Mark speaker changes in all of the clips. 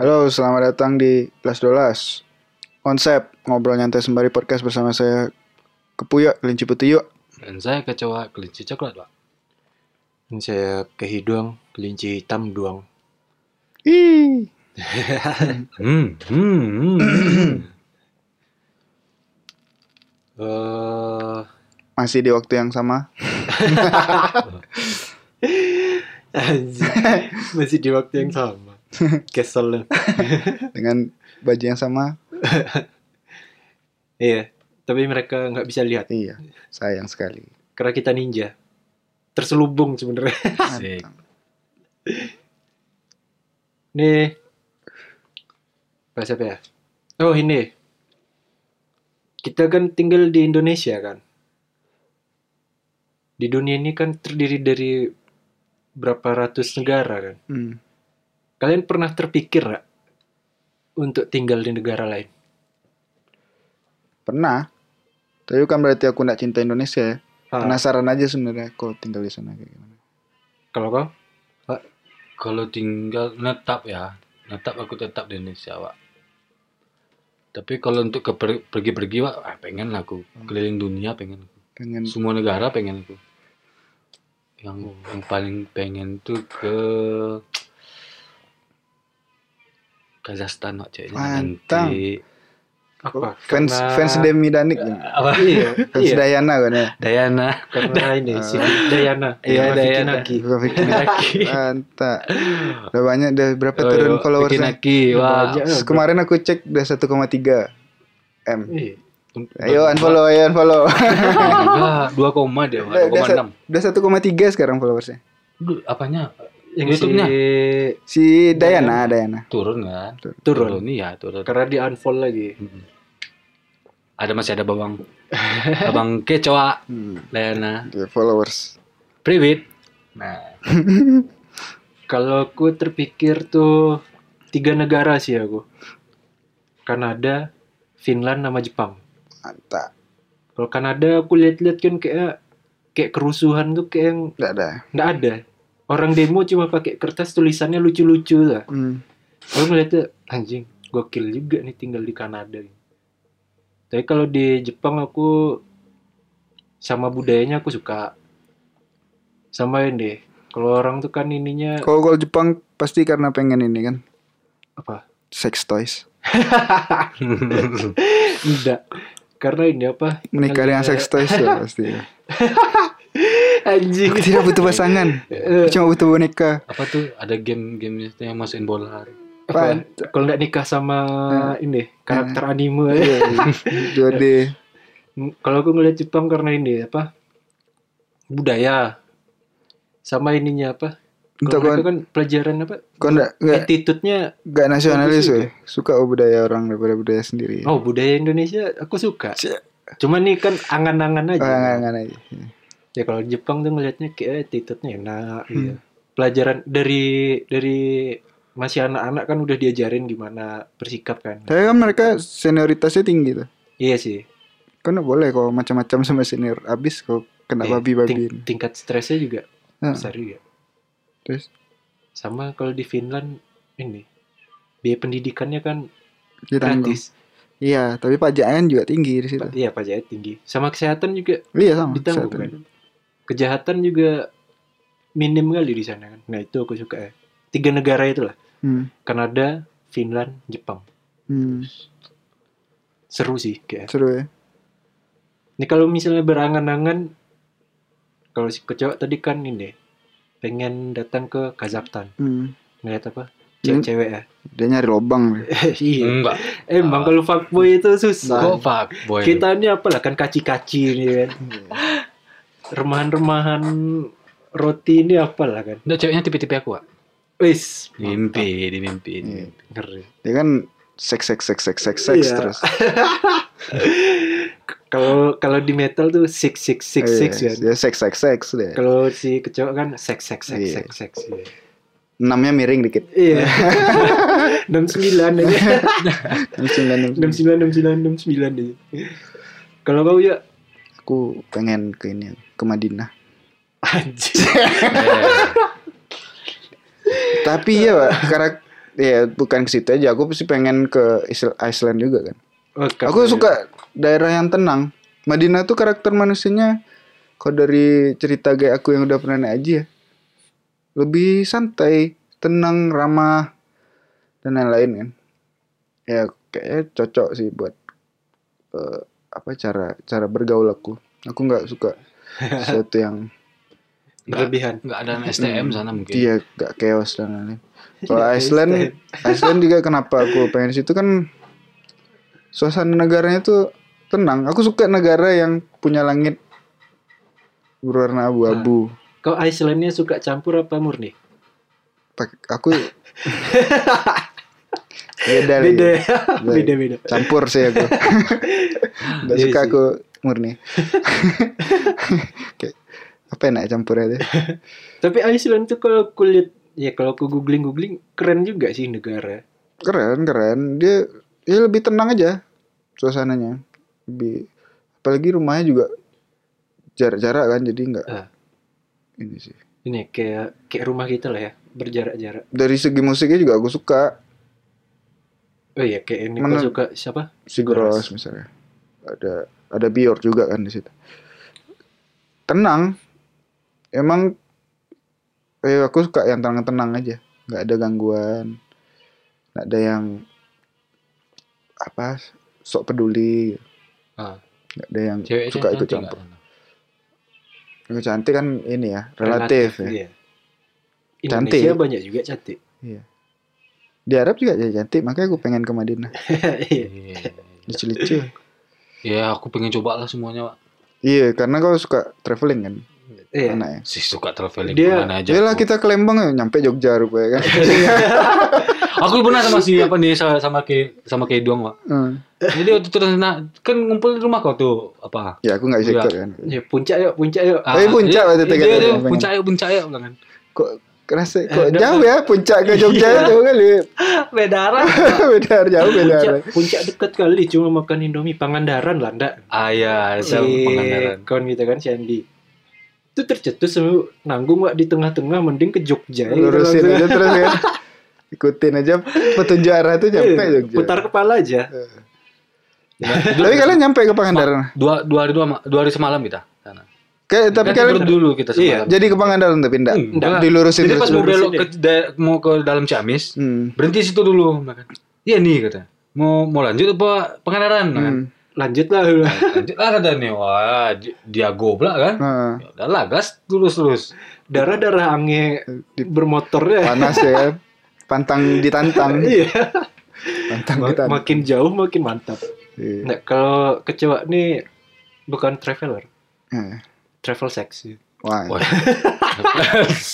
Speaker 1: Halo, selamat datang di Plus Dolas. Konsep ngobrol nyantai sembari podcast bersama saya Kepuyo Kelinci Putih yuk.
Speaker 2: Dan saya kecewa kelinci coklat, Pak.
Speaker 3: Dan saya kehiduang, kelinci hitam doang.
Speaker 1: Ih.
Speaker 2: Hmm, hmm,
Speaker 3: Eh,
Speaker 1: Masih di waktu yang sama.
Speaker 3: anjing. masih di waktu yang sama. Kesel lu.
Speaker 1: dengan baju yang sama.
Speaker 3: Iya, tapi mereka nggak bisa lihat
Speaker 1: Iya, sayang sekali.
Speaker 3: karena kita ninja. Terselubung sebenarnya.
Speaker 2: Asik.
Speaker 3: Nih. Bahasa apa ya? Oh, ini. Kita kan tinggal di Indonesia kan. Di dunia ini kan terdiri dari berapa ratus negara kan.
Speaker 1: Hmm.
Speaker 3: Kalian pernah terpikir nggak untuk tinggal di negara lain?
Speaker 1: Pernah. Tapi bukan berarti aku nggak cinta Indonesia ya.
Speaker 3: Ah,
Speaker 1: Penasaran aja sebenarnya kalau tinggal di sana kayak gimana.
Speaker 3: Kalau kau?
Speaker 2: Kalau tinggal netap ya, netap aku tetap di Indonesia, Pak. Tapi kalau untuk ke per- pergi-pergi, Pak, ah, pengen lah aku.
Speaker 1: Hmm.
Speaker 2: Keliling dunia pengen aku.
Speaker 1: Pengen
Speaker 2: Semua negara pengen aku.
Speaker 1: Oh.
Speaker 2: Yang, yang paling pengen tuh ke Kazakhstan, Pak, ceweknya.
Speaker 1: Mantap.
Speaker 2: cantik.
Speaker 3: Apa?
Speaker 1: fans
Speaker 3: Karena-
Speaker 1: fans Demi Danik kan?
Speaker 2: Apa?
Speaker 3: Iya,
Speaker 1: Fans
Speaker 3: iya.
Speaker 1: Dayana kan ya.
Speaker 2: Dayana.
Speaker 3: Karena ini
Speaker 1: Ah.
Speaker 3: si Dayana.
Speaker 2: Iya,
Speaker 3: Karena
Speaker 2: Dayana.
Speaker 3: Vicky Naki.
Speaker 1: Gua bikin mantap. Udah banyak udah berapa
Speaker 3: Oh, iya.
Speaker 1: turun followersnya?
Speaker 2: Naki, wah.
Speaker 3: Banyak.
Speaker 1: Terus Ya, Kemarin aku cek udah 1,3 M.
Speaker 3: Iya.
Speaker 1: Ayo unfollow, ayo unfollow.
Speaker 2: Dua koma dia,
Speaker 1: Udah-
Speaker 2: dua
Speaker 1: udah
Speaker 2: koma
Speaker 1: sa-
Speaker 2: enam.
Speaker 1: Udah 1,3 sekarang followersnya.
Speaker 2: Duh, apanya
Speaker 3: Yang si
Speaker 2: YouTube-nya?
Speaker 1: Si Dayana, Dayana.
Speaker 2: turun kan?
Speaker 3: turun.
Speaker 2: iya turun.
Speaker 3: Karena di unfollow lagi.
Speaker 2: Mm-mm. Ada masih ada babang, babang kecoa,
Speaker 1: Hmm,
Speaker 2: Lena,
Speaker 1: dia followers.
Speaker 2: Priwit. Nah,
Speaker 3: Kalau aku terpikir tuh tiga negara sih aku. Kanada, Finland, sama Jepang.
Speaker 1: Mantap.
Speaker 3: Kalau Kanada aku lihat-lihat kan kayak kayak kerusuhan tuh kayak yang
Speaker 1: Enggak ada.
Speaker 3: nggak ada. Orang demo cuma pakai kertas tulisannya lucu-lucu lah.
Speaker 1: Hmm.
Speaker 3: Gue ngeliatnya anjing, gokil juga nih tinggal di Kanada. Tapi kalau di Jepang aku sama budayanya aku suka. Sama ini, kalau orang tuh kan ininya
Speaker 1: Kalau gol Jepang pasti karena pengen ini kan
Speaker 3: apa?
Speaker 1: sex toys.
Speaker 3: Tidak. Karena ini apa?
Speaker 1: Menikah dengan sex toys lah pasti.
Speaker 3: Anjing.
Speaker 1: Aku tidak butuh pasangan.
Speaker 3: Eh,
Speaker 1: Aku cuma butuh boneka.
Speaker 2: apa tuh? Ada game-game itu yang masukin bola.
Speaker 3: Apa? Kalau nggak nikah sama
Speaker 1: Hmm.
Speaker 3: ini karakter anime.
Speaker 1: Iya, iya. Jode.
Speaker 3: M- kalau aku ngeliat Jepang karena ini apa budaya sama ininya apa
Speaker 1: Untuk
Speaker 3: kalau mereka
Speaker 1: kau
Speaker 3: kan pelajaran apa
Speaker 1: kau enggak enggak
Speaker 3: attitude-nya
Speaker 1: enggak nasionalis
Speaker 3: Bagus
Speaker 1: weh. Suka budaya orang daripada budaya sendiri.
Speaker 3: oh budaya Indonesia aku suka
Speaker 1: Cie.
Speaker 3: cuma nih kan angan-angan aja
Speaker 1: Angan-angan aja. Iya.
Speaker 3: ya kalau Jepang tuh ngelihatnya kayak attitude-nya enak
Speaker 1: Hmm.
Speaker 3: iya. pelajaran dari dari masih anak-anak kan udah diajarin gimana bersikap kan
Speaker 1: Tapi kan mereka senioritasnya tinggi tuh.
Speaker 3: iya sih
Speaker 1: Kan nggak boleh kalau macam-macam sama senior abis kau kena
Speaker 3: Iya,
Speaker 1: babi-babiin.
Speaker 3: ting- tingkat stresnya juga
Speaker 1: Heeh.
Speaker 3: besar
Speaker 1: Hmm.
Speaker 3: juga
Speaker 1: Terus?
Speaker 3: sama kalau di Finland ini biaya pendidikannya kan
Speaker 1: Hmm. Ditanggung.
Speaker 3: gratis
Speaker 1: Iya, tapi pajaknya juga tinggi di situ.
Speaker 3: Pa- Iya pajaknya tinggi. Sama kesehatan juga
Speaker 1: Iya sama.
Speaker 3: ditanggung
Speaker 1: satu.
Speaker 3: kan. Kejahatan juga minim kali di sana kan. Nah itu aku suka ya. Tiga negara itulah.
Speaker 1: Hmm.
Speaker 3: Kanada, Finland, Jepang.
Speaker 1: hmm.
Speaker 3: Seru sih kayak.
Speaker 1: Seru ya.
Speaker 3: Ini kalau misalnya berangan-angan, kalau si kecewa tadi kan ini pengen datang ke Kazakhstan
Speaker 1: Hmm.
Speaker 3: ngeliat apa
Speaker 1: Hmm.
Speaker 3: cewek-cewek ya.
Speaker 1: Dia nyari lobang. weh.
Speaker 3: iya.
Speaker 2: Enggak.
Speaker 3: Emang kalau fuckboy itu
Speaker 1: Iya.
Speaker 3: susah.
Speaker 2: Kok fuck boy?
Speaker 3: Kita ini apalah kan kaci-kaci ini kan. Remahan-remahan roti ini apalah kan.
Speaker 2: Nggak, ceweknya tipe-tipe aku, Pak.
Speaker 3: Wis,
Speaker 2: Mimpi, di mimpi. di
Speaker 1: Iya.
Speaker 2: mimpi.
Speaker 3: ngeri.
Speaker 1: Dia kan seks seks seks seks seks seks
Speaker 3: Iya.
Speaker 1: terus.
Speaker 3: Kalau kalau di metal tuh six six six six
Speaker 1: Iya,
Speaker 3: kan.
Speaker 1: Dia seks seks seks deh.
Speaker 3: Kalau si kecoa kan seks seks seks
Speaker 1: Iya.
Speaker 3: seks seks. iya.
Speaker 1: Enamnya miring dikit.
Speaker 3: Iya. Enam sembilan aja.
Speaker 1: Enam sembilan, enam sembilan.
Speaker 3: Enam sembilan enam sembilan enam sembilan aja. Kalau kau ya
Speaker 1: Aku pengen ke ini ke Madinah.
Speaker 3: anjir.
Speaker 2: Eh,
Speaker 1: Tapi iya pak, karena Iya, bukan ke situ aja. Aku sih pengen ke Isl- Iceland juga kan.
Speaker 3: Oh,
Speaker 1: Aku
Speaker 3: karena-
Speaker 1: suka daerah yang tenang. Madinah tuh karakter manusianya kalau dari cerita gay aku yang udah pernah naik haji ya. Lebih santai, tenang, ramah dan lain-lain kan. Ya kayaknya cocok sih buat eh, apa cara cara bergaul aku. Aku nggak suka sesuatu yang
Speaker 3: berlebihan.
Speaker 2: nggak ada STM sana mungkin
Speaker 1: dia iya, nggak chaos dan lain-lain. Kalau
Speaker 3: Iya,
Speaker 1: Iceland,
Speaker 3: Iceland.
Speaker 1: Iceland juga kenapa aku pengen situ kan suasana negaranya tuh tenang. Aku suka negara yang punya langit berwarna abu-abu.
Speaker 3: Kau Icelandnya suka campur apa murni?
Speaker 1: Pak- Aku beda lagi.
Speaker 3: Beda, beda, beda.
Speaker 1: Campur sih aku. Gak
Speaker 3: Iya
Speaker 1: suka
Speaker 3: sih.
Speaker 1: aku murni. Kayak apa enak campurnya tuh?
Speaker 3: Tapi Iceland tuh kalau kulit ya kalau aku googling googling keren juga sih negara.
Speaker 1: keren keren dia ya lebih tenang aja suasananya lebih apalagi rumahnya juga jarak-jarak kan jadi nggak
Speaker 3: Ah.
Speaker 1: ini sih
Speaker 3: Ini kayak kayak rumah kita lah ya berjarak-jarak.
Speaker 1: dari segi musiknya juga aku suka
Speaker 3: Oh iya kayak ini
Speaker 1: Mana-
Speaker 3: kau suka siapa?
Speaker 1: Sigur Rós
Speaker 3: Rós.
Speaker 1: misalnya ada ada Bior juga kan di situ tenang emang eh aku suka yang tenang-tenang aja nggak ada gangguan nggak ada yang apa sok peduli
Speaker 2: Ah.
Speaker 1: nggak ada yang
Speaker 2: ceweknya
Speaker 1: suka ikut
Speaker 2: cantik
Speaker 1: campur
Speaker 2: nggak sana?
Speaker 1: Yang cantik kan ini ya, relatif, ya.
Speaker 3: Iya. Indonesia
Speaker 1: Cantik.
Speaker 3: banyak juga cantik.
Speaker 1: Di Arab juga jadi cantik, makanya gue pengen ke Madinah.
Speaker 3: Iya.
Speaker 2: Iya.
Speaker 1: Lucu-lucu.
Speaker 2: ya aku pengen coba lah semuanya pak
Speaker 1: iya, karena kau suka traveling kan,
Speaker 3: Iya.
Speaker 1: anaknya.
Speaker 2: si suka traveling
Speaker 3: Dia-
Speaker 2: kemana aja
Speaker 1: Yalah
Speaker 2: aku.
Speaker 1: kita ke Lembang ya, nyampe Jogja rupanya kan.
Speaker 2: aku pernah sama si apa nih sama sama ke sama ke doang pak
Speaker 1: Hmm.
Speaker 2: jadi waktu itu nah, kan ngumpul di rumah kau tuh apa
Speaker 1: Ya aku nggak bisa
Speaker 2: Iya.
Speaker 1: ikut kan.
Speaker 3: Ya, puncak yuk, puncak yuk.
Speaker 1: Eh, puncak waktu itu
Speaker 2: iya,
Speaker 1: kan.
Speaker 2: iya, iya, puncak yuk puncak yuk bilang kan
Speaker 1: Kok kerasa
Speaker 3: Eh, Iya.
Speaker 1: kok
Speaker 3: udah,
Speaker 1: jauh ya puncak ke Jogja jauh kali.
Speaker 3: Beda arah.
Speaker 1: beda jauh beda.
Speaker 3: Ah, puncak,
Speaker 1: arah.
Speaker 3: puncak dekat kali cuma makan Indomie Pangandaran lah ndak.
Speaker 2: ah iya
Speaker 3: si
Speaker 2: saya pengandaran
Speaker 3: kawan kita kan si Andi itu tercetus sama nanggung nggak di tengah-tengah mending ke Jogja ya,
Speaker 1: Lurusin
Speaker 3: gitu
Speaker 1: aja terus ya. Ikutin aja petunjuk arah tuh
Speaker 3: langsung.
Speaker 1: nyampe
Speaker 3: Iya,
Speaker 1: Jogja. Iya.
Speaker 3: putar kepala aja
Speaker 1: Tapi kalian nyampe ke Pangandaran.
Speaker 2: dua dua hari dua, ma- dua hari semalam kita sana
Speaker 1: Kayak tapi
Speaker 2: Kan
Speaker 1: kalian
Speaker 2: tidur dulu kita semalam
Speaker 1: jadi ke Pangandaran tapi enggak.
Speaker 2: Enggak.
Speaker 1: Dilurusin
Speaker 2: jadi pas
Speaker 1: terus.
Speaker 2: mau
Speaker 3: Lurusin
Speaker 2: belok
Speaker 3: deh.
Speaker 2: ke da- mau ke dalam Ciamis
Speaker 1: Hmm.
Speaker 2: berhenti situ dulu bilang kan. iya nih kata mau mau lanjut apa pengandaran
Speaker 3: Nah.
Speaker 2: Bilang kan.
Speaker 1: Hmm.
Speaker 3: lanjut lah
Speaker 2: lanjut lah kata nih wah di- dia goblok kan
Speaker 1: Nah,
Speaker 2: ya udahlah gas terus terus
Speaker 3: darah darah ange
Speaker 1: Di-
Speaker 3: bermotornya
Speaker 1: panas ya kan. pantang ditantang
Speaker 3: iya
Speaker 1: pantang
Speaker 3: Ma-
Speaker 1: ditantang
Speaker 3: makin jauh makin mantap
Speaker 1: Iya.
Speaker 3: nah kalau kecewa nih bukan traveler Nah.
Speaker 1: Eh,
Speaker 3: travel seksi
Speaker 1: wah
Speaker 2: Wah.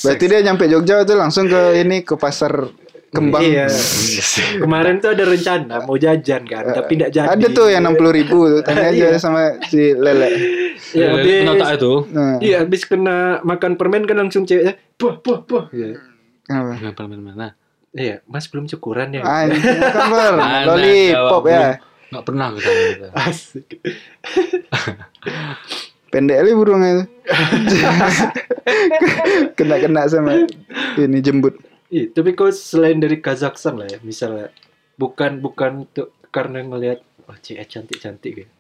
Speaker 1: berarti dia nyampe Jogja itu langsung ke ini ke pasar kembang
Speaker 3: iya. kemarin tuh ada rencana mau jajan kan tapi tidak jadi
Speaker 1: Eh, ada tuh yang enam puluh ribu tuh tanya aja
Speaker 3: Iya.
Speaker 1: sama si lele Iya,
Speaker 2: ya,
Speaker 3: ya, habis-
Speaker 2: penata itu
Speaker 1: nah,
Speaker 3: Iya, habis kena makan permen kan langsung ceweknya, buah, buah, buah. Iya.
Speaker 2: Nah,
Speaker 1: kenapa
Speaker 2: mana
Speaker 3: Iya, mas belum cukuran ya?
Speaker 1: ah ini bukan ber
Speaker 2: Mana
Speaker 1: lollipop
Speaker 2: jawab
Speaker 1: ya
Speaker 2: nggak pernah ke sana
Speaker 1: Iya,
Speaker 2: kita
Speaker 3: Asik.
Speaker 1: pendek li burungnya itu kena kena sama ini jembut
Speaker 3: Iya, tapi kalau selain dari Kazakhstan lah ya, misalnya bukan bukan tuh karena ngelihat oh cewek cantik-cantik gitu.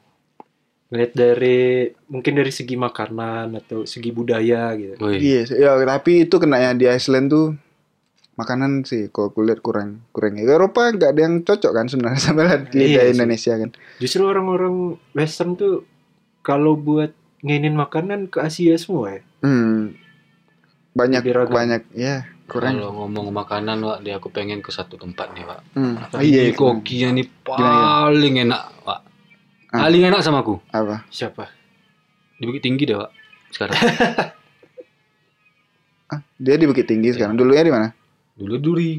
Speaker 3: Ngelihat dari mungkin dari segi makanan atau segi budaya gitu.
Speaker 2: Woi,
Speaker 1: iya sih. ya tapi itu kena yang di Iceland tuh makanan sih kalau kulit kurang kurang ya Eropa nggak ada yang cocok kan sebenarnya sama lidah
Speaker 3: Iya sih.
Speaker 1: Indonesia kan
Speaker 3: Justru orang-orang western tuh kalau buat nginin makanan ke Asia semua ya.
Speaker 1: Hmm. Banyak
Speaker 3: Lebih ragam.
Speaker 1: banyak ya, kurang.
Speaker 2: kalau ngomong makanan pak dia aku pengen ke satu tempat nih pak
Speaker 1: Hmm. Oh,
Speaker 2: iya,
Speaker 1: iya, kurang.
Speaker 2: kokinya nih
Speaker 1: Gila, iya.
Speaker 2: paling enak pak
Speaker 1: Ah.
Speaker 2: paling enak sama aku
Speaker 1: Apa?
Speaker 3: Siapa?
Speaker 2: di bukit tinggi deh pak sekarang
Speaker 1: Ah, dia di Bukit Tinggi sekarang. Dulunya di mana?
Speaker 2: dulu duri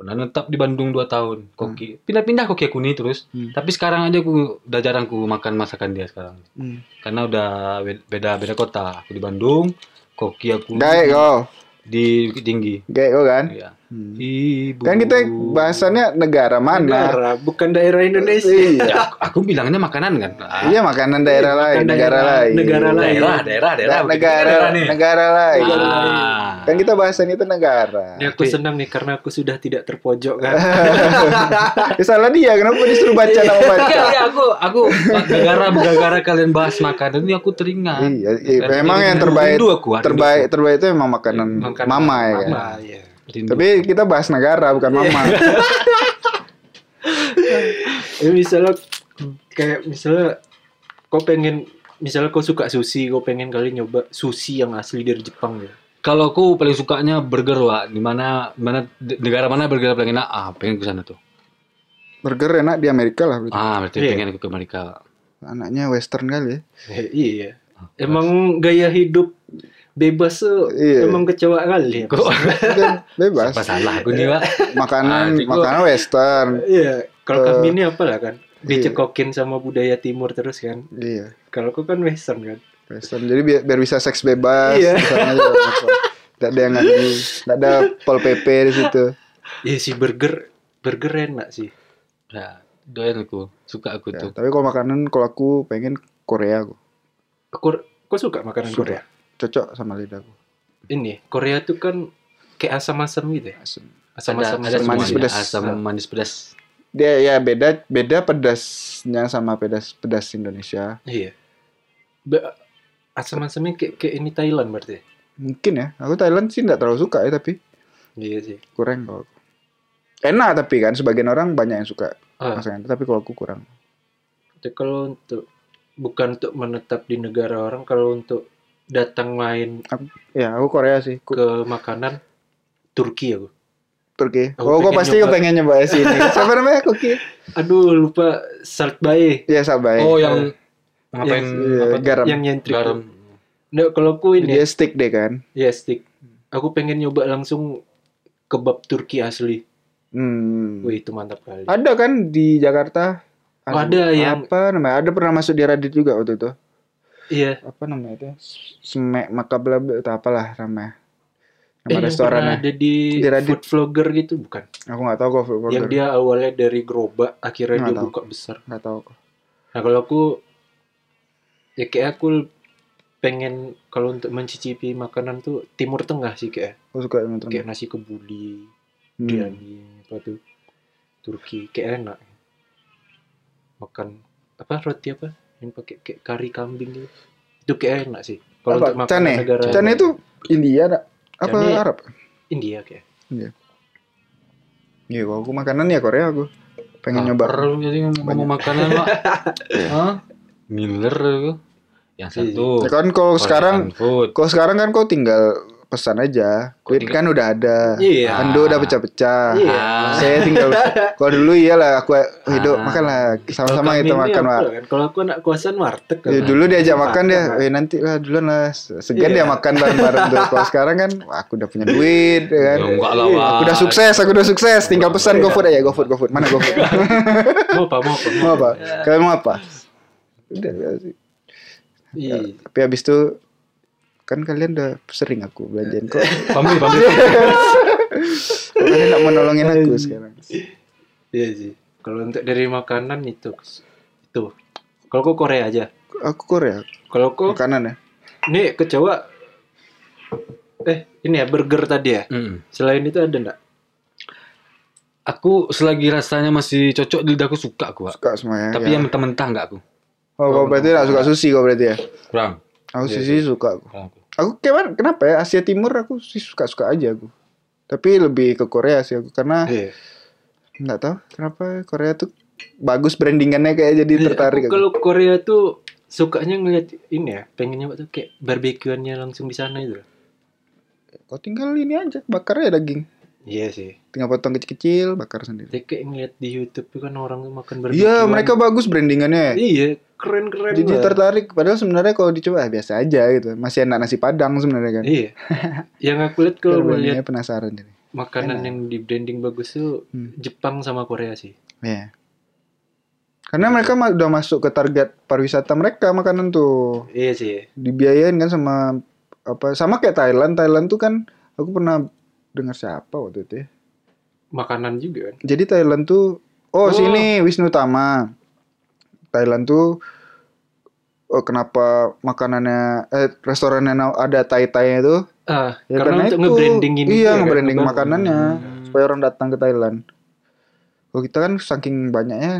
Speaker 2: pernah netap di Bandung 2 tahun koki pindah-pindah koki aku nih terus
Speaker 1: Hmm.
Speaker 2: tapi sekarang aja aku udah jarang ku makan masakan dia sekarang
Speaker 1: Hmm.
Speaker 2: karena udah be- beda beda kota aku di Bandung koki aku
Speaker 1: Gaek kau.
Speaker 2: di Bukit Tinggi
Speaker 1: Gaek kau kan?
Speaker 2: ya.
Speaker 1: Hmm.
Speaker 2: Ibu.
Speaker 1: Kan kita bahasannya negara mana?
Speaker 3: Negara, bukan daerah Indonesia.
Speaker 1: Iya.
Speaker 2: Ya, aku, aku bilangnya makanan kan. Ah,
Speaker 1: Iya makanan daerah
Speaker 3: Iya,
Speaker 1: lain,
Speaker 3: makan
Speaker 1: negara
Speaker 3: daerah-
Speaker 1: lain.
Speaker 3: negara lain.
Speaker 2: Daerah, daerah, daerah.
Speaker 1: Da- negara
Speaker 2: Ini nih.
Speaker 1: negara lain.
Speaker 3: Negara lain.
Speaker 2: Ah.
Speaker 1: Kan kita bahasan itu negara.
Speaker 3: Ini aku senang nih karena aku sudah tidak kan? terpojokkan.
Speaker 1: Ya, salah dia, kenapa disuruh baca nama baca?
Speaker 2: Iya, iya, aku aku gara-gara gara-gara kalian bahas makanan ini aku teringat.
Speaker 1: Iya, iya,
Speaker 2: Karena
Speaker 1: memang
Speaker 2: jadi
Speaker 1: yang terbaik
Speaker 2: rindu aku hari
Speaker 1: terbaik
Speaker 2: ini.
Speaker 1: terbaik itu memang makanan,
Speaker 2: Iya. Makanan
Speaker 1: mama ya. kan?
Speaker 3: Nah, iya.
Speaker 2: Rindu.
Speaker 1: Tapi kita bahas negara bukan mama.
Speaker 3: Ya, misalnya kayak misalnya kau pengen misalnya kau suka sushi, kau pengen kali nyoba sushi yang asli dari Jepang ya.
Speaker 2: Kalau aku paling sukanya burger wa, di mana mana di- negara mana burger paling enak? Ah, pengen ke sana tuh.
Speaker 1: Burger enak di Amerika lah berarti.
Speaker 2: Ah, berarti
Speaker 3: Iya.
Speaker 2: pengen aku ke Amerika. Wak.
Speaker 1: Anaknya western kali ya.
Speaker 3: Eh, iya. Emang gaya hidup bebas tuh
Speaker 1: Iya.
Speaker 3: emang kecewa kali ya.
Speaker 2: Kok
Speaker 1: Dan bebas.
Speaker 2: apa salah aku nih, Wak?
Speaker 1: Makanan
Speaker 2: Ah, itu gua-
Speaker 1: makanan western.
Speaker 3: Iya, kalau kami ini apalah kan
Speaker 1: iya.
Speaker 3: dicekokin sama budaya timur terus kan.
Speaker 1: Iya.
Speaker 3: Kalau kau kan western kan.
Speaker 1: Western. Jadi biar, biar bisa seks bebas.
Speaker 3: Iya.
Speaker 1: di sana juga apa-apa. Nggak ada yang ngadu. Nggak ada pol pp di situ.
Speaker 3: Iya sih burger burger enak sih.
Speaker 2: Nah, doyan aku, suka aku
Speaker 1: Ya,
Speaker 2: tuh.
Speaker 1: tapi kalau makanan kalau aku pengen Korea aku.
Speaker 3: Kor kau suka makanan
Speaker 1: Suka.
Speaker 3: Korea?
Speaker 1: Cocok sama lidahku.
Speaker 3: Ini Korea tuh kan kayak asam-asam gitu ya.
Speaker 1: Asem.
Speaker 3: Asam-asam ya?
Speaker 2: ada, ada
Speaker 1: asam manis
Speaker 2: manis pedas.
Speaker 1: pedas.
Speaker 2: Asam manis pedas.
Speaker 1: Dia ya beda beda pedasnya sama pedas pedas Indonesia.
Speaker 3: Iya. Ba- Asam-asamnya kayak, kayak ini Thailand berarti.
Speaker 1: Mungkin ya. Aku Thailand sih nggak terlalu suka ya tapi
Speaker 3: Iya sih.
Speaker 1: kurang kalau aku. Enak tapi kan sebagian orang banyak yang suka
Speaker 3: Ah.
Speaker 1: masakan itu tapi kalau aku kurang.
Speaker 3: Tapi kalau untuk bukan untuk menetap di negara orang, kalau untuk datang main
Speaker 1: Ya, aku Korea sih. Ku-
Speaker 3: ke makanan Turki aku.
Speaker 1: Turki.
Speaker 3: Aku
Speaker 1: Oh, gue
Speaker 3: pengen
Speaker 1: pasti
Speaker 3: nyoba.
Speaker 1: pengen nyoba sini. Siapa namanya Koki?
Speaker 3: Aduh lupa Saltbae
Speaker 1: Ya, Sabai.
Speaker 2: Oh, yang ngapain
Speaker 1: Iya,
Speaker 2: apa tuh?
Speaker 1: garam.
Speaker 3: yang nyentrik.
Speaker 2: garam.
Speaker 3: Nggak, kalau aku ini
Speaker 1: Dia stick deh kan.
Speaker 3: ya stick. Aku pengen nyoba langsung kebab Turki asli.
Speaker 1: Hmm.
Speaker 3: Wih itu mantap kali.
Speaker 1: Ada kan di Jakarta?
Speaker 3: Oh, ada yang-
Speaker 1: apa namanya? Ada pernah masuk di Radit juga waktu itu.
Speaker 3: Iya.
Speaker 1: Apa namanya itu? Semek Makabla atau apalah namanya. Nama
Speaker 3: Eh, yang pernah
Speaker 1: restorannya.
Speaker 3: ada di,
Speaker 1: ya? Di Radit.
Speaker 3: food vlogger gitu bukan?
Speaker 1: Aku nggak tahu kok food
Speaker 3: Yang
Speaker 1: blogger.
Speaker 3: dia awalnya dari gerobak akhirnya
Speaker 1: Nggak
Speaker 3: dia
Speaker 1: tahu.
Speaker 3: buka besar.
Speaker 1: Nggak tahu kok.
Speaker 3: Nah kalau aku ya kayak aku pengen kalau untuk mencicipi makanan tuh Timur Tengah sih kayak
Speaker 1: Aku suka yang itu.
Speaker 3: kayak nasi kebuli,
Speaker 1: Hmm.
Speaker 3: biryani apa tuh Turki kayak enak. Makan apa roti apa yang pakai kayak kari kambing gitu. Itu kayak enak sih. Kalau untuk
Speaker 1: Apa?
Speaker 3: makanan
Speaker 1: Cane.
Speaker 3: negara
Speaker 1: Cane itu India nak? apa
Speaker 3: Cane-
Speaker 1: Arab?
Speaker 3: India kayak.
Speaker 1: Iya, kalau aku makanan ya Korea aku.
Speaker 3: Ah,
Speaker 1: Pengen
Speaker 2: Lapar
Speaker 1: nyoba.
Speaker 2: lu jadi ngomong, ngomong makanan, Wak. Hah? Miller aku. Yang
Speaker 3: Iya.
Speaker 2: satu.
Speaker 1: Ya kan kalau
Speaker 2: Korean
Speaker 1: sekarang
Speaker 2: food.
Speaker 1: Kalau sekarang kan kau tinggal pesan aja.
Speaker 2: Kau
Speaker 1: Duit
Speaker 2: tinggal-
Speaker 1: kan udah ada.
Speaker 3: Iya.
Speaker 1: Ando udah pecah-pecah.
Speaker 3: Iya.
Speaker 2: Ah.
Speaker 1: Saya tinggal kalau dulu iyalah aku hidup makanlah sama-sama kita
Speaker 3: Kalau kami ini
Speaker 1: makan,
Speaker 3: apa
Speaker 1: Pak.
Speaker 3: kan? Kalau aku anak kosan warteg kan.
Speaker 1: Ya, dulu diajak makan dia,
Speaker 3: Makan,
Speaker 1: eh nanti lah duluan lah segan
Speaker 3: Iya.
Speaker 1: dia makan bareng-bareng tuh. Kalau sekarang kan wah, aku udah punya duit ya kan.
Speaker 2: Ya, enggak lah,
Speaker 3: Iya.
Speaker 2: Wak.
Speaker 1: Aku udah sukses, aku udah sukses. Tinggal pesan GoFood aja, GoFood, GoFood. Mana GoFood?
Speaker 3: Mau apa mau apa.
Speaker 1: mau apa? Kalian mau apa? Udah,
Speaker 3: Iya.
Speaker 1: tapi habis itu kan kalian udah sering aku belanjain kok.
Speaker 2: Pamri, pamri.
Speaker 1: Kalian gak mau nolongin aku sekarang.
Speaker 3: Iya sih. Kalau untuk dari makanan itu itu. Kalau kok Korea aja.
Speaker 1: Aku Korea,
Speaker 3: Kalau kok
Speaker 1: makanan ya.
Speaker 3: ini kecewa eh ini ya burger tadi ya.
Speaker 2: Mm.
Speaker 3: Selain itu ada enggak?
Speaker 2: Aku selagi rasanya masih cocok di lidahku suka aku, Wak.
Speaker 1: Suka semuanya. ya.
Speaker 2: Tapi yang mentah-mentah enggak aku.
Speaker 1: Oh, kau berarti gak suka sushi kau berarti ya?
Speaker 2: Kurang.
Speaker 1: Aku
Speaker 3: Iya,
Speaker 1: sushi suka aku.
Speaker 2: Kurang aku.
Speaker 1: Aku kemarin kenapa ya Asia Timur aku sih suka-suka aja aku. Tapi lebih ke Korea sih aku karena
Speaker 3: Iya.
Speaker 1: nggak tahu kenapa Korea tuh bagus brandingannya kayak jadi tertarik
Speaker 3: Iya, Aku
Speaker 1: aku.
Speaker 3: Kalau Korea tuh sukanya ngeliat ini ya, pengen nyoba tuh kayak barbekyuannya langsung di sana itu.
Speaker 1: Kau tinggal ini aja bakar ya daging.
Speaker 3: Iya sih.
Speaker 1: Tinggal potong kecil-kecil bakar sendiri.
Speaker 3: Tapi kayak ngeliat di YouTube tuh kan orang tuh makan barbekyuan.
Speaker 1: Iya, mereka bagus brandingannya.
Speaker 3: Iya, keren-keren.
Speaker 1: Jadi
Speaker 3: lah.
Speaker 1: tertarik padahal sebenarnya kalau dicoba ah, biasa aja gitu. Masih enak nasi Padang sebenarnya kan.
Speaker 3: Iya. yang aku lihat
Speaker 1: Biar
Speaker 3: kalau melihat
Speaker 1: brandingnya penasaran jadi.
Speaker 3: makanan
Speaker 1: Enak.
Speaker 3: yang di branding bagus tuh
Speaker 1: Hmm.
Speaker 3: Jepang sama Korea sih.
Speaker 1: Iya. Karena mereka ma- udah masuk ke target pariwisata mereka makanan tuh
Speaker 3: Iya sih.
Speaker 1: dibiayain kan sama apa sama kayak Thailand. Thailand tuh kan aku pernah dengar siapa waktu itu ya.
Speaker 3: makanan juga kan
Speaker 1: Jadi Thailand tuh oh,
Speaker 3: Oh.
Speaker 1: sini Wisnu Tama. Thailand tuh oh, kenapa makanannya eh restorannya na- ada Thai-Thai itu?
Speaker 3: ah
Speaker 1: Ya,
Speaker 3: karena, untuk
Speaker 1: itu-
Speaker 3: nge-branding ini
Speaker 1: Iya,
Speaker 3: juga kan,
Speaker 1: nge-branding
Speaker 3: ngebangun.
Speaker 1: makanannya
Speaker 3: ya.
Speaker 2: Hmm.
Speaker 1: supaya orang datang ke Thailand. Kalau kita kan saking banyaknya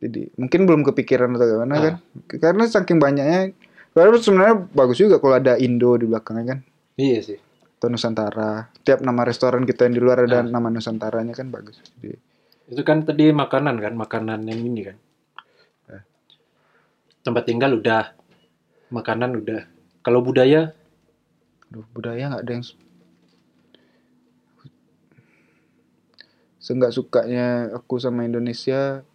Speaker 1: jadi mungkin belum kepikiran atau gimana
Speaker 2: Ah.
Speaker 1: kan. Karena saking banyaknya Padahal sebenarnya bagus juga kalau ada Indo di belakangnya kan.
Speaker 3: iya sih
Speaker 1: Atau Nusantara. Tiap nama restoran kita yang di luar ada
Speaker 2: Ah.
Speaker 1: nama Nusantaranya kan bagus. Jadi,
Speaker 3: itu kan tadi makanan kan makanan yang ini kan
Speaker 1: Eh.
Speaker 3: tempat tinggal udah makanan udah kalau budaya
Speaker 1: Aduh, budaya nggak ada yang su- seenggak sukanya aku sama Indonesia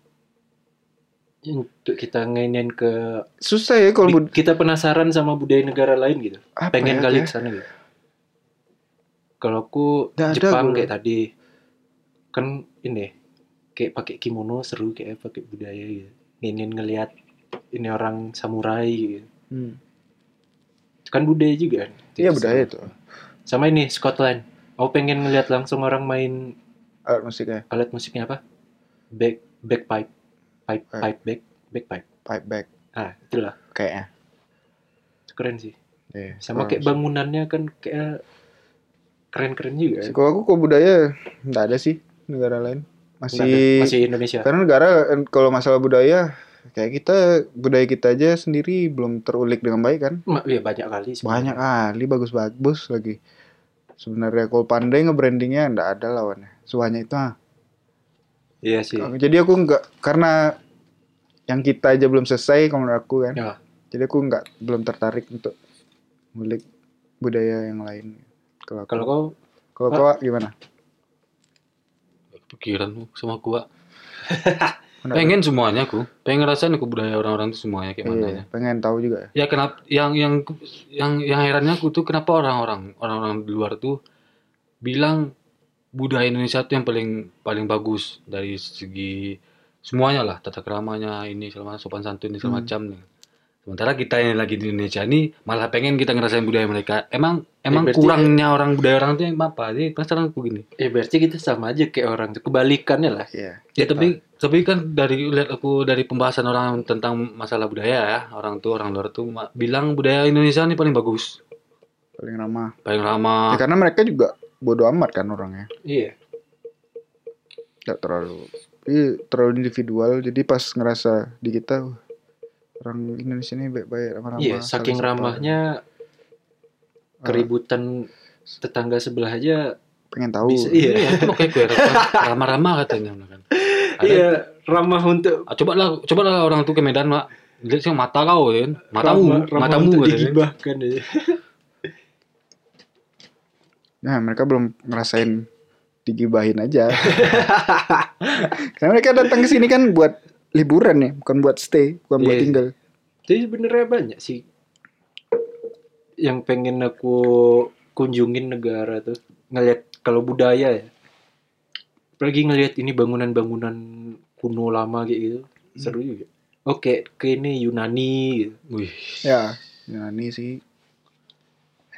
Speaker 3: untuk kita ngainin ke
Speaker 1: susah ya kalau bud-
Speaker 3: Bi- kita penasaran sama budaya negara lain gitu
Speaker 1: apa ya,
Speaker 3: pengen kali
Speaker 1: kayak-
Speaker 3: ke sana gitu kalau aku
Speaker 1: Nggak ada
Speaker 3: Jepang
Speaker 1: gua.
Speaker 3: kayak tadi kan ini kayak pakai kimono seru kayak pakai budaya gitu ingin ngelihat ini orang samurai gitu
Speaker 1: Hmm.
Speaker 3: itu kan budaya juga kan
Speaker 1: iya budaya itu
Speaker 3: sama ini Scotland aku pengen ngelihat langsung orang main
Speaker 1: alat musik ya
Speaker 3: alat musiknya apa back backpipe pipe
Speaker 1: Eh.
Speaker 3: pipe back backpipe
Speaker 1: pipe back
Speaker 3: ah itulah
Speaker 1: kayaknya
Speaker 3: Itu keren sih
Speaker 1: Iya,
Speaker 3: sama
Speaker 1: kurang
Speaker 3: kayak
Speaker 1: sih.
Speaker 3: bangunannya kan kayak keren-keren juga kan.
Speaker 1: Sih, kalau aku kalau budaya nggak ada sih negara lain
Speaker 3: Nggak ada.
Speaker 1: masih,
Speaker 3: masih Indonesia.
Speaker 1: karena negara eh, kalau masalah budaya kayak kita budaya kita aja sendiri belum terulik dengan baik kan
Speaker 3: Ma- Iya banyak kali.
Speaker 1: banyak
Speaker 3: sebenarnya.
Speaker 1: kali bagus-bagus lagi sebenarnya kalau pandai nge-brandingnya nggak ada lawannya semuanya itu ah.
Speaker 3: Iya sih.
Speaker 1: jadi aku nggak karena yang kita aja belum selesai kalau menurut aku kan
Speaker 3: Ya.
Speaker 1: jadi aku nggak belum tertarik untuk ngulik budaya yang lain kalau
Speaker 3: Kalau
Speaker 1: kalau
Speaker 3: kau
Speaker 1: kalau kau Wak, gimana
Speaker 2: Pikiran sama aku, Wak.
Speaker 1: Kenapa?
Speaker 2: Pengen semuanya aku. Pengen rasain aku budaya orang-orang itu semuanya kayak mana
Speaker 1: Iya,
Speaker 2: ya.
Speaker 1: pengen tahu juga ya
Speaker 2: Ya kenapa yang yang yang yang herannya aku tuh kenapa orang-orang orang-orang di luar tuh bilang budaya Indonesia tuh yang paling paling bagus dari segi semuanya lah tata keramanya ini segala macam sopan santun ini
Speaker 1: Hmm.
Speaker 2: segala macam nih. Sementara kita yang lagi di Indonesia ini malah pengen kita ngerasain budaya mereka. Emang
Speaker 1: Ya,
Speaker 2: emang
Speaker 3: berarti-
Speaker 2: kurangnya orang budaya orang tuh yang apa? Jadi penasaran aku gini.
Speaker 3: ya berarti kita sama aja kayak orang tuh kebalikannya lah.
Speaker 1: iya
Speaker 2: Ya tapi tapi kan dari lihat aku dari pembahasan orang tentang masalah budaya ya orang tuh orang luar tuh ma- bilang budaya Indonesia ini paling bagus
Speaker 1: paling ramah
Speaker 2: paling
Speaker 1: Ya,
Speaker 2: lama
Speaker 1: karena mereka juga bodoh amat kan orangnya
Speaker 3: Iya.
Speaker 1: nggak terlalu iya, terlalu individual jadi pas ngerasa di kita wah, orang Indonesia ini baik-baik ramah-ramah
Speaker 3: Iya,
Speaker 1: saling
Speaker 3: saking
Speaker 1: sapa.
Speaker 3: ramahnya
Speaker 1: Ah,
Speaker 3: keributan tetangga sebelah aja
Speaker 1: pengen tahu
Speaker 3: bisa. Iya.
Speaker 2: Iya, itu makanya gue heran. ramah-ramah katanya kan ada
Speaker 3: Iya, ramah untuk
Speaker 2: ah, cobalah cobalah orang tuh ke Medan mak lihat sih mata kau ya kan matamu
Speaker 3: ramah, ramah
Speaker 2: matamu
Speaker 3: untuk
Speaker 2: katanya.
Speaker 3: digibahkan aja.
Speaker 1: Nah, mereka belum ngerasain digibahin aja. Karena mereka datang ke sini kan buat liburan ya, bukan buat stay, bukan buat
Speaker 3: Iya.
Speaker 1: tinggal.
Speaker 3: Jadi sebenarnya banyak sih yang pengen aku kunjungin negara tuh ngelihat kalau budaya ya. Apalagi ngelihat ini bangunan-bangunan kuno lama kayak gitu. Seru juga. Oke, ke ini Yunani gitu.
Speaker 2: Wih,
Speaker 1: Ya, Yunani sih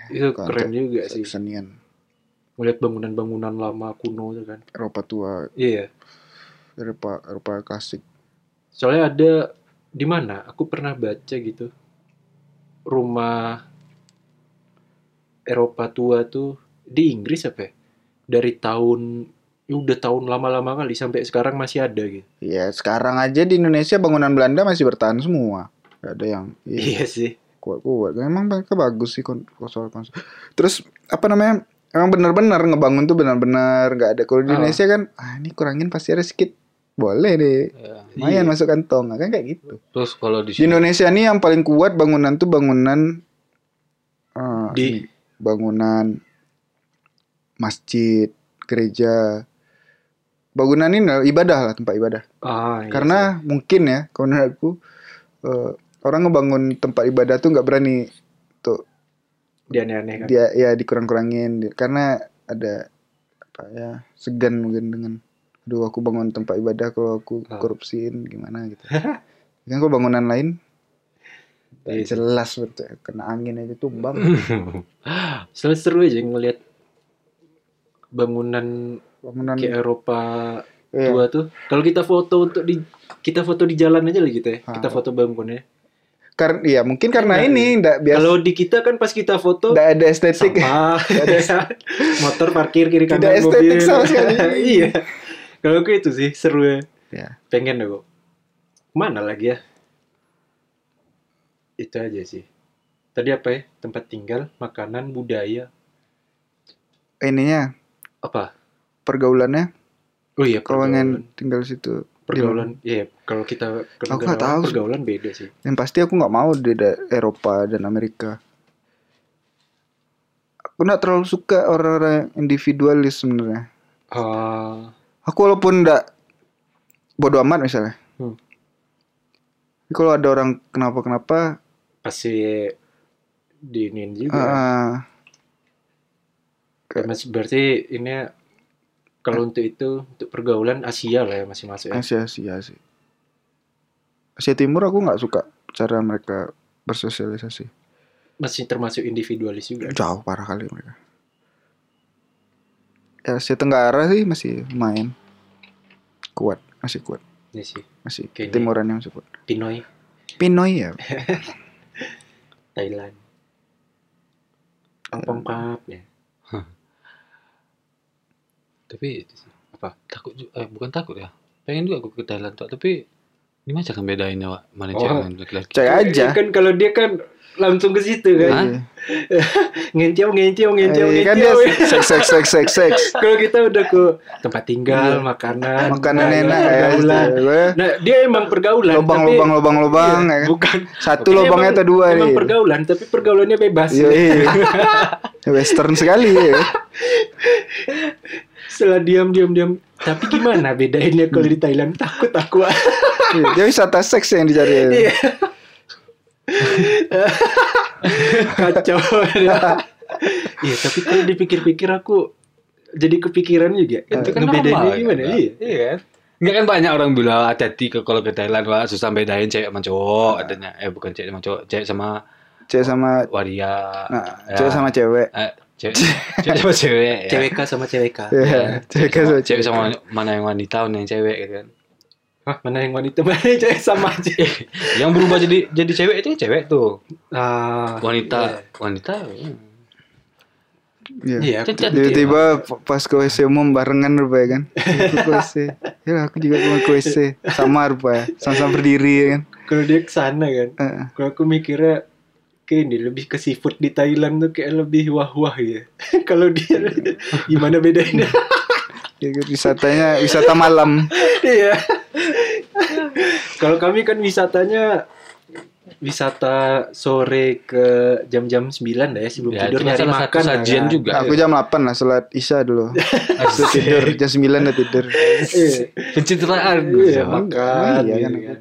Speaker 3: Itu
Speaker 1: Kalau
Speaker 3: keren juga Iya sih.
Speaker 1: kesenian
Speaker 3: Ngelihat bangunan-bangunan lama kuno tuh kan.
Speaker 1: Eropa tua,
Speaker 3: Iya.
Speaker 1: Eropa Eropa klasik.
Speaker 3: Soalnya ada di mana? Aku pernah baca gitu. Rumah Eropa tua tuh di Inggris apa ya? Dari tahun ya udah tahun lama-lama kali sampai sekarang masih ada gitu.
Speaker 1: Ya, sekarang aja di Indonesia bangunan Belanda masih bertahan semua. Gak ada yang iya,
Speaker 3: Iya sih.
Speaker 1: kuat-kuat. Emang mereka bagus sih kon- konsol konsol. Terus apa namanya? Emang benar-benar ngebangun tuh benar-benar nggak ada. Kalau di
Speaker 3: Ah.
Speaker 1: Indonesia kan, ah ini kurangin pasti ada sedikit. Boleh deh.
Speaker 2: ya.
Speaker 1: lumayan
Speaker 3: Iya.
Speaker 1: masuk kantong kan kayak gitu
Speaker 2: terus kalau di
Speaker 1: di
Speaker 2: sini
Speaker 1: Indonesia nih yang paling kuat bangunan tuh bangunan eh, ini,
Speaker 3: Di
Speaker 1: bangunan masjid gereja bangunan ini lah, ibadah lah tempat ibadah
Speaker 3: ah, iya
Speaker 1: karena mungkin ya kalau menurut aku eh, orang ngebangun tempat ibadah tuh nggak berani
Speaker 3: sih. dia aneh-aneh kan.
Speaker 1: dia ya dikurang-kurangin Di- karena ada apa ya segan mungkin dengan aduh aku bangun tempat ibadah kalau aku
Speaker 3: Ah.
Speaker 1: korupsiin gimana gitu kan kalau bangunan lain
Speaker 3: Iya sih.
Speaker 1: jelas betul kena angin aja tumbang
Speaker 3: Selalu seru aja ngelihat bangunan
Speaker 1: bangunan
Speaker 3: kayak Eropa
Speaker 1: Kan- iya.
Speaker 3: tua tuh. Kalau kita foto untuk di kita foto di jalan aja lah gitu ya.
Speaker 1: Ah.
Speaker 3: Kita foto bangunannya.
Speaker 1: Kar- iya, mungkin karena
Speaker 3: Iya.
Speaker 1: ini ndak biasa
Speaker 3: Kalau di kita kan pas kita foto
Speaker 1: ndak ada estetik
Speaker 3: sampah, motor parkir kiri kanan
Speaker 1: Tidak estetik
Speaker 3: mobil.
Speaker 1: sama sekali.
Speaker 3: iya. Kalau gue itu sih seru ya.
Speaker 1: Iya.
Speaker 3: Pengen deh kok. Mana lagi ya? Itu aja sih. Tadi apa ya? Tempat tinggal, makanan, budaya,
Speaker 1: ininya
Speaker 3: apa?
Speaker 1: pergaulannya
Speaker 3: Oh iya,
Speaker 1: kalau
Speaker 3: pergaulan.
Speaker 1: pengen tinggal di situ
Speaker 3: pergaulan iya kalau kita ke
Speaker 1: Aku
Speaker 3: negara
Speaker 1: nggak tahu.
Speaker 3: pergaulan beda sih
Speaker 1: yang pasti aku nggak mau di da- Eropa dan Amerika aku nggak terlalu suka orang-orang yang individualis sebenarnya
Speaker 3: Ah,
Speaker 1: aku walaupun nggak bodoh amat misalnya
Speaker 3: Hmm.
Speaker 1: Tapi kalau ada orang kenapa-kenapa
Speaker 3: pasti diinin juga
Speaker 1: ah,
Speaker 3: Ya, Mas berarti ini ya, kalau untuk itu untuk pergaulan Asia lah ya masih masuk ya
Speaker 1: Ah. Asia Asia sih Asia Timur aku nggak suka cara mereka bersosialisasi
Speaker 3: masih termasuk individualis juga
Speaker 1: Ya, jauh parah kali mereka ya Asia Tenggara sih masih main kuat masih kuat
Speaker 3: ini sih
Speaker 1: masih
Speaker 3: Kayaknya.
Speaker 1: timuran yang masih kuat
Speaker 3: Pinoy
Speaker 1: Pinoy ya
Speaker 3: Thailand pangpap ya
Speaker 2: tapi
Speaker 3: itu sih.
Speaker 2: takut ju- eh bukan takut ya pengen juga aku ke Thailand Wak. tapi gimana cara bedainnya ya, Wak? mana
Speaker 3: Oh.
Speaker 2: cewek dan laki-laki
Speaker 1: cek aja
Speaker 3: kan kalau dia kan langsung ke situ kan
Speaker 2: Hah?
Speaker 1: Iya.
Speaker 3: ngenciau ngenciau ngenciau
Speaker 1: Eh, kan dia
Speaker 3: ngenciau
Speaker 1: seks seks seks seks seks
Speaker 3: kalau kita udah ke tempat tinggal makanan
Speaker 1: Iya. makanan
Speaker 3: budaya,
Speaker 1: enak ya
Speaker 3: pergaulan nah dia emang pergaulan
Speaker 1: lobang
Speaker 3: tapi-
Speaker 1: lobang lobang lobang
Speaker 3: Iya,
Speaker 1: ya kan?
Speaker 3: bukan
Speaker 1: satu
Speaker 3: Ini
Speaker 1: lobangnya
Speaker 3: emang-
Speaker 1: atau dua
Speaker 3: emang
Speaker 1: nih
Speaker 3: pergaulan tapi pergaulannya bebas
Speaker 1: Iya, iya. western sekali ya
Speaker 3: setelah diam diam diam tapi gimana bedainnya kalau di Thailand takut aku
Speaker 1: Iya, dia wisata seks yang dicari
Speaker 3: Iya.
Speaker 2: Iya.
Speaker 3: kacau iya tapi kalau dipikir-pikir aku jadi kepikiran juga
Speaker 2: Itu kan
Speaker 3: ngebedainnya
Speaker 2: normal,
Speaker 3: gimana
Speaker 2: kan, Pak?
Speaker 3: iya iya kan
Speaker 2: Enggak kan banyak orang bilang hati-hati ke kalau ke Thailand Wak, susah bedain cewek sama
Speaker 3: Nah.
Speaker 2: cowok katanya. Eh bukan cewek sama cowok, cewek sama
Speaker 1: cewek sama
Speaker 2: waria.
Speaker 1: nah,
Speaker 2: Ya.
Speaker 1: cewek sama cewek
Speaker 2: Eh, cewek, cewek sama cewek. ya.
Speaker 3: CWK sama CWK
Speaker 1: Iya, cewek sama
Speaker 2: cewek sama mana yang wanita, mana yang cewek gitu kan.
Speaker 3: Hah, mana yang wanita mana yang cewek sama aja
Speaker 2: Iya. Yang berubah jadi jadi cewek itu yang cewek tuh.
Speaker 3: ah
Speaker 2: Wanita, wanita. hmm.
Speaker 1: Iya.
Speaker 3: iya aku-
Speaker 2: Cecet.
Speaker 1: Tiba-tiba p- pas ke WC umum barengan rupanya kan. Aku ke WC. Ya aku juga cuma ke WC. Sama rupanya. Sama-sama berdiri ya kan.
Speaker 3: kalau dia kesana kan
Speaker 1: Heeh.
Speaker 3: Kalau aku mikirnya kayak ini lebih ke seafood di Thailand tuh kayak lebih wah-wah ya. Kalau dia gimana bedainnya?
Speaker 1: Ya kan, wisatanya wisata malam.
Speaker 3: Iya. Kalau kami kan wisatanya wisata sore ke jam-jam 9 lah ya sebelum
Speaker 2: Ya, itu
Speaker 3: tidur
Speaker 2: kan
Speaker 3: nyari
Speaker 2: salah satu
Speaker 3: makan lah
Speaker 2: sajian
Speaker 3: kan.
Speaker 2: juga.
Speaker 1: Aku jam 8 lah sholat Isya dulu. Habis itu tidur jam 9 udah tidur.
Speaker 3: Iya,
Speaker 2: Pencitraan.
Speaker 3: iya,
Speaker 2: Wak.
Speaker 3: makan.
Speaker 1: Iya,
Speaker 3: gitu
Speaker 1: kan.
Speaker 3: kan.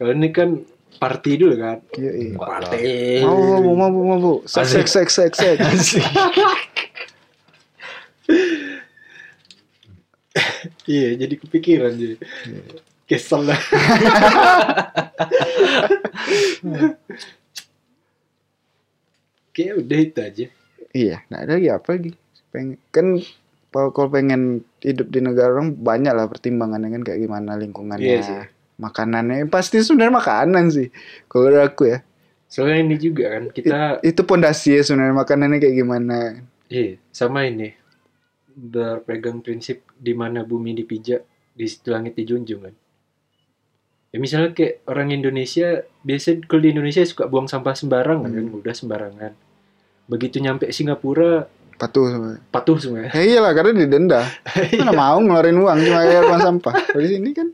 Speaker 3: Kalau ini kan party dulu kan.
Speaker 1: Iya, iya.
Speaker 2: Wah,
Speaker 3: Party.
Speaker 1: Mau Oh, mau mau mau mau. Sek sek sek sek sek.
Speaker 2: Asik.
Speaker 3: Iya, jadi kepikiran jadi. Kesel lah. Kayak udah itu aja.
Speaker 1: Iya, nah ada lagi apa lagi? Pengen kan kalau kalau pengen hidup di negara orang banyak lah pertimbangannya kan kayak gimana lingkungannya,
Speaker 3: Iya sih.
Speaker 1: makanannya. Pasti sebenarnya makanan sih. Kalau dari aku ya,
Speaker 3: Soalnya ini juga kan kita
Speaker 1: itu pondasi ya sebenarnya makanannya kayak gimana.
Speaker 3: iya, sama ini berpegang prinsip di mana bumi dipijak di situ langit dijunjung kan. Ya misalnya kayak orang Indonesia biasa kalau di Indonesia suka buang sampah sembarangan kan, udah sembarangan. Begitu nyampe Singapura
Speaker 1: Patuh sama.
Speaker 3: patuh semua.
Speaker 1: Ya iyalah karena didenda. Mana mau ngeluarin uang cuma kayak buang sampah. Kalau di sini kan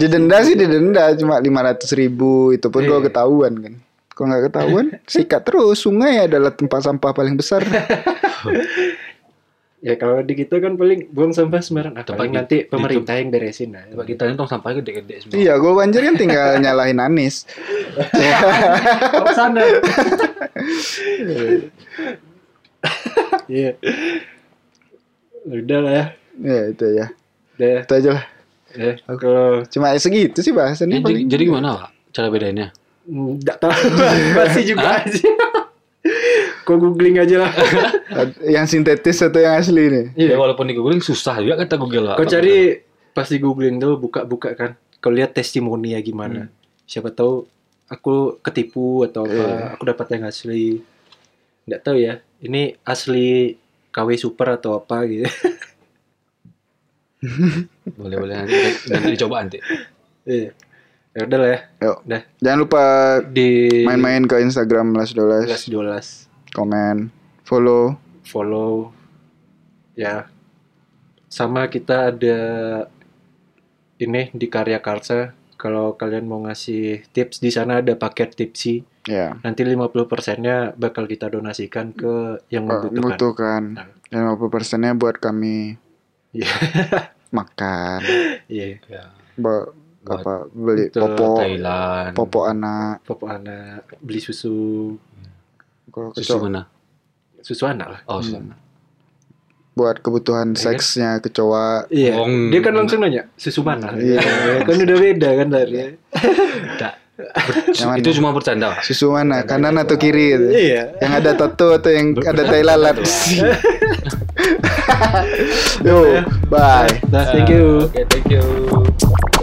Speaker 1: didenda sih didenda cuma 500 ribu itu pun kalau
Speaker 3: Iya.
Speaker 1: ketahuan kan. Kalau nggak ketahuan sikat terus. Sungai adalah tempat sampah paling besar.
Speaker 3: Ya kalau di kita kan paling buang sampah sembarangan.
Speaker 2: Tempat
Speaker 3: Paling
Speaker 2: di-
Speaker 3: nanti
Speaker 2: di-
Speaker 3: pemerintah yang beresin nah, lah.
Speaker 2: Coba kita nonton sampahnya gede-gede semua.
Speaker 1: Iya, gue banjir kan tinggal nyalahin Anis.
Speaker 3: ke sana. Iya. Udah lah ya.
Speaker 1: ya itu ya.
Speaker 3: Udah.
Speaker 1: Itu aja lah.
Speaker 3: Ya. Kalau
Speaker 1: Cuma segitu sih bahasannya
Speaker 2: Eh, jadi,
Speaker 1: paling.
Speaker 2: jadi gimana Wak? Cara bedainnya?
Speaker 3: nggak tahu masih juga aja. Kau googling aja lah.
Speaker 1: yang sintetis atau yang asli nih?
Speaker 2: Ya,
Speaker 3: Iya.
Speaker 2: walaupun diguling susah juga kata Google lah.
Speaker 3: Kau cari pas di googling tuh buka-buka kan. Kau lihat testimoni ya gimana. Siapa tahu aku ketipu atau apa.
Speaker 1: Iya.
Speaker 3: Aku dapat yang asli. Nggak tahu ya. Ini asli KW Super atau apa gitu.
Speaker 2: boleh boleh nanti, nanti dicoba nanti.
Speaker 3: Iya. ya udah lah ya.
Speaker 1: Jangan lupa
Speaker 3: Di
Speaker 2: Iya.
Speaker 1: main-main ke Instagram Las Dolas,
Speaker 3: 12
Speaker 1: komen, follow.
Speaker 3: follow ya sama kita ada ini di karya karsa kalau kalian mau ngasih tips di sana ada paket tipsi
Speaker 1: Ya,
Speaker 3: nanti 50%-nya bakal kita donasikan ke yang
Speaker 1: eh,
Speaker 3: membutuhkan
Speaker 1: membutuhkan.
Speaker 2: Nah.
Speaker 1: Dan 50 persennya buat kami
Speaker 3: Iya.
Speaker 1: makan,
Speaker 3: iya
Speaker 2: Ya.
Speaker 1: buat
Speaker 2: Buat
Speaker 1: apa beli
Speaker 3: Betul,
Speaker 1: popok,
Speaker 2: Thailand.
Speaker 1: popok anak.
Speaker 3: pop anak beli susu
Speaker 1: Kalau
Speaker 2: Susu
Speaker 1: kecoa-
Speaker 2: mana?
Speaker 3: susu anak lah
Speaker 2: Oh, susu.
Speaker 3: Hmm.
Speaker 1: buat kebutuhan
Speaker 3: Iya kan?
Speaker 1: seksnya kecoa.
Speaker 3: iya
Speaker 2: Bohong.
Speaker 3: dia kan langsung nanya susu mana
Speaker 1: Iya.
Speaker 3: kan udah beda kan dari
Speaker 1: Yang mana?
Speaker 2: itu cuma bercanda. Pak.
Speaker 1: Susu mana? Kanan atau kiri? Gitu.
Speaker 3: iya
Speaker 1: Yang ada tato atau yang ada tai lalat? Yo, bye.
Speaker 2: Iya.
Speaker 3: Nah, thank you
Speaker 2: Oke, thank you.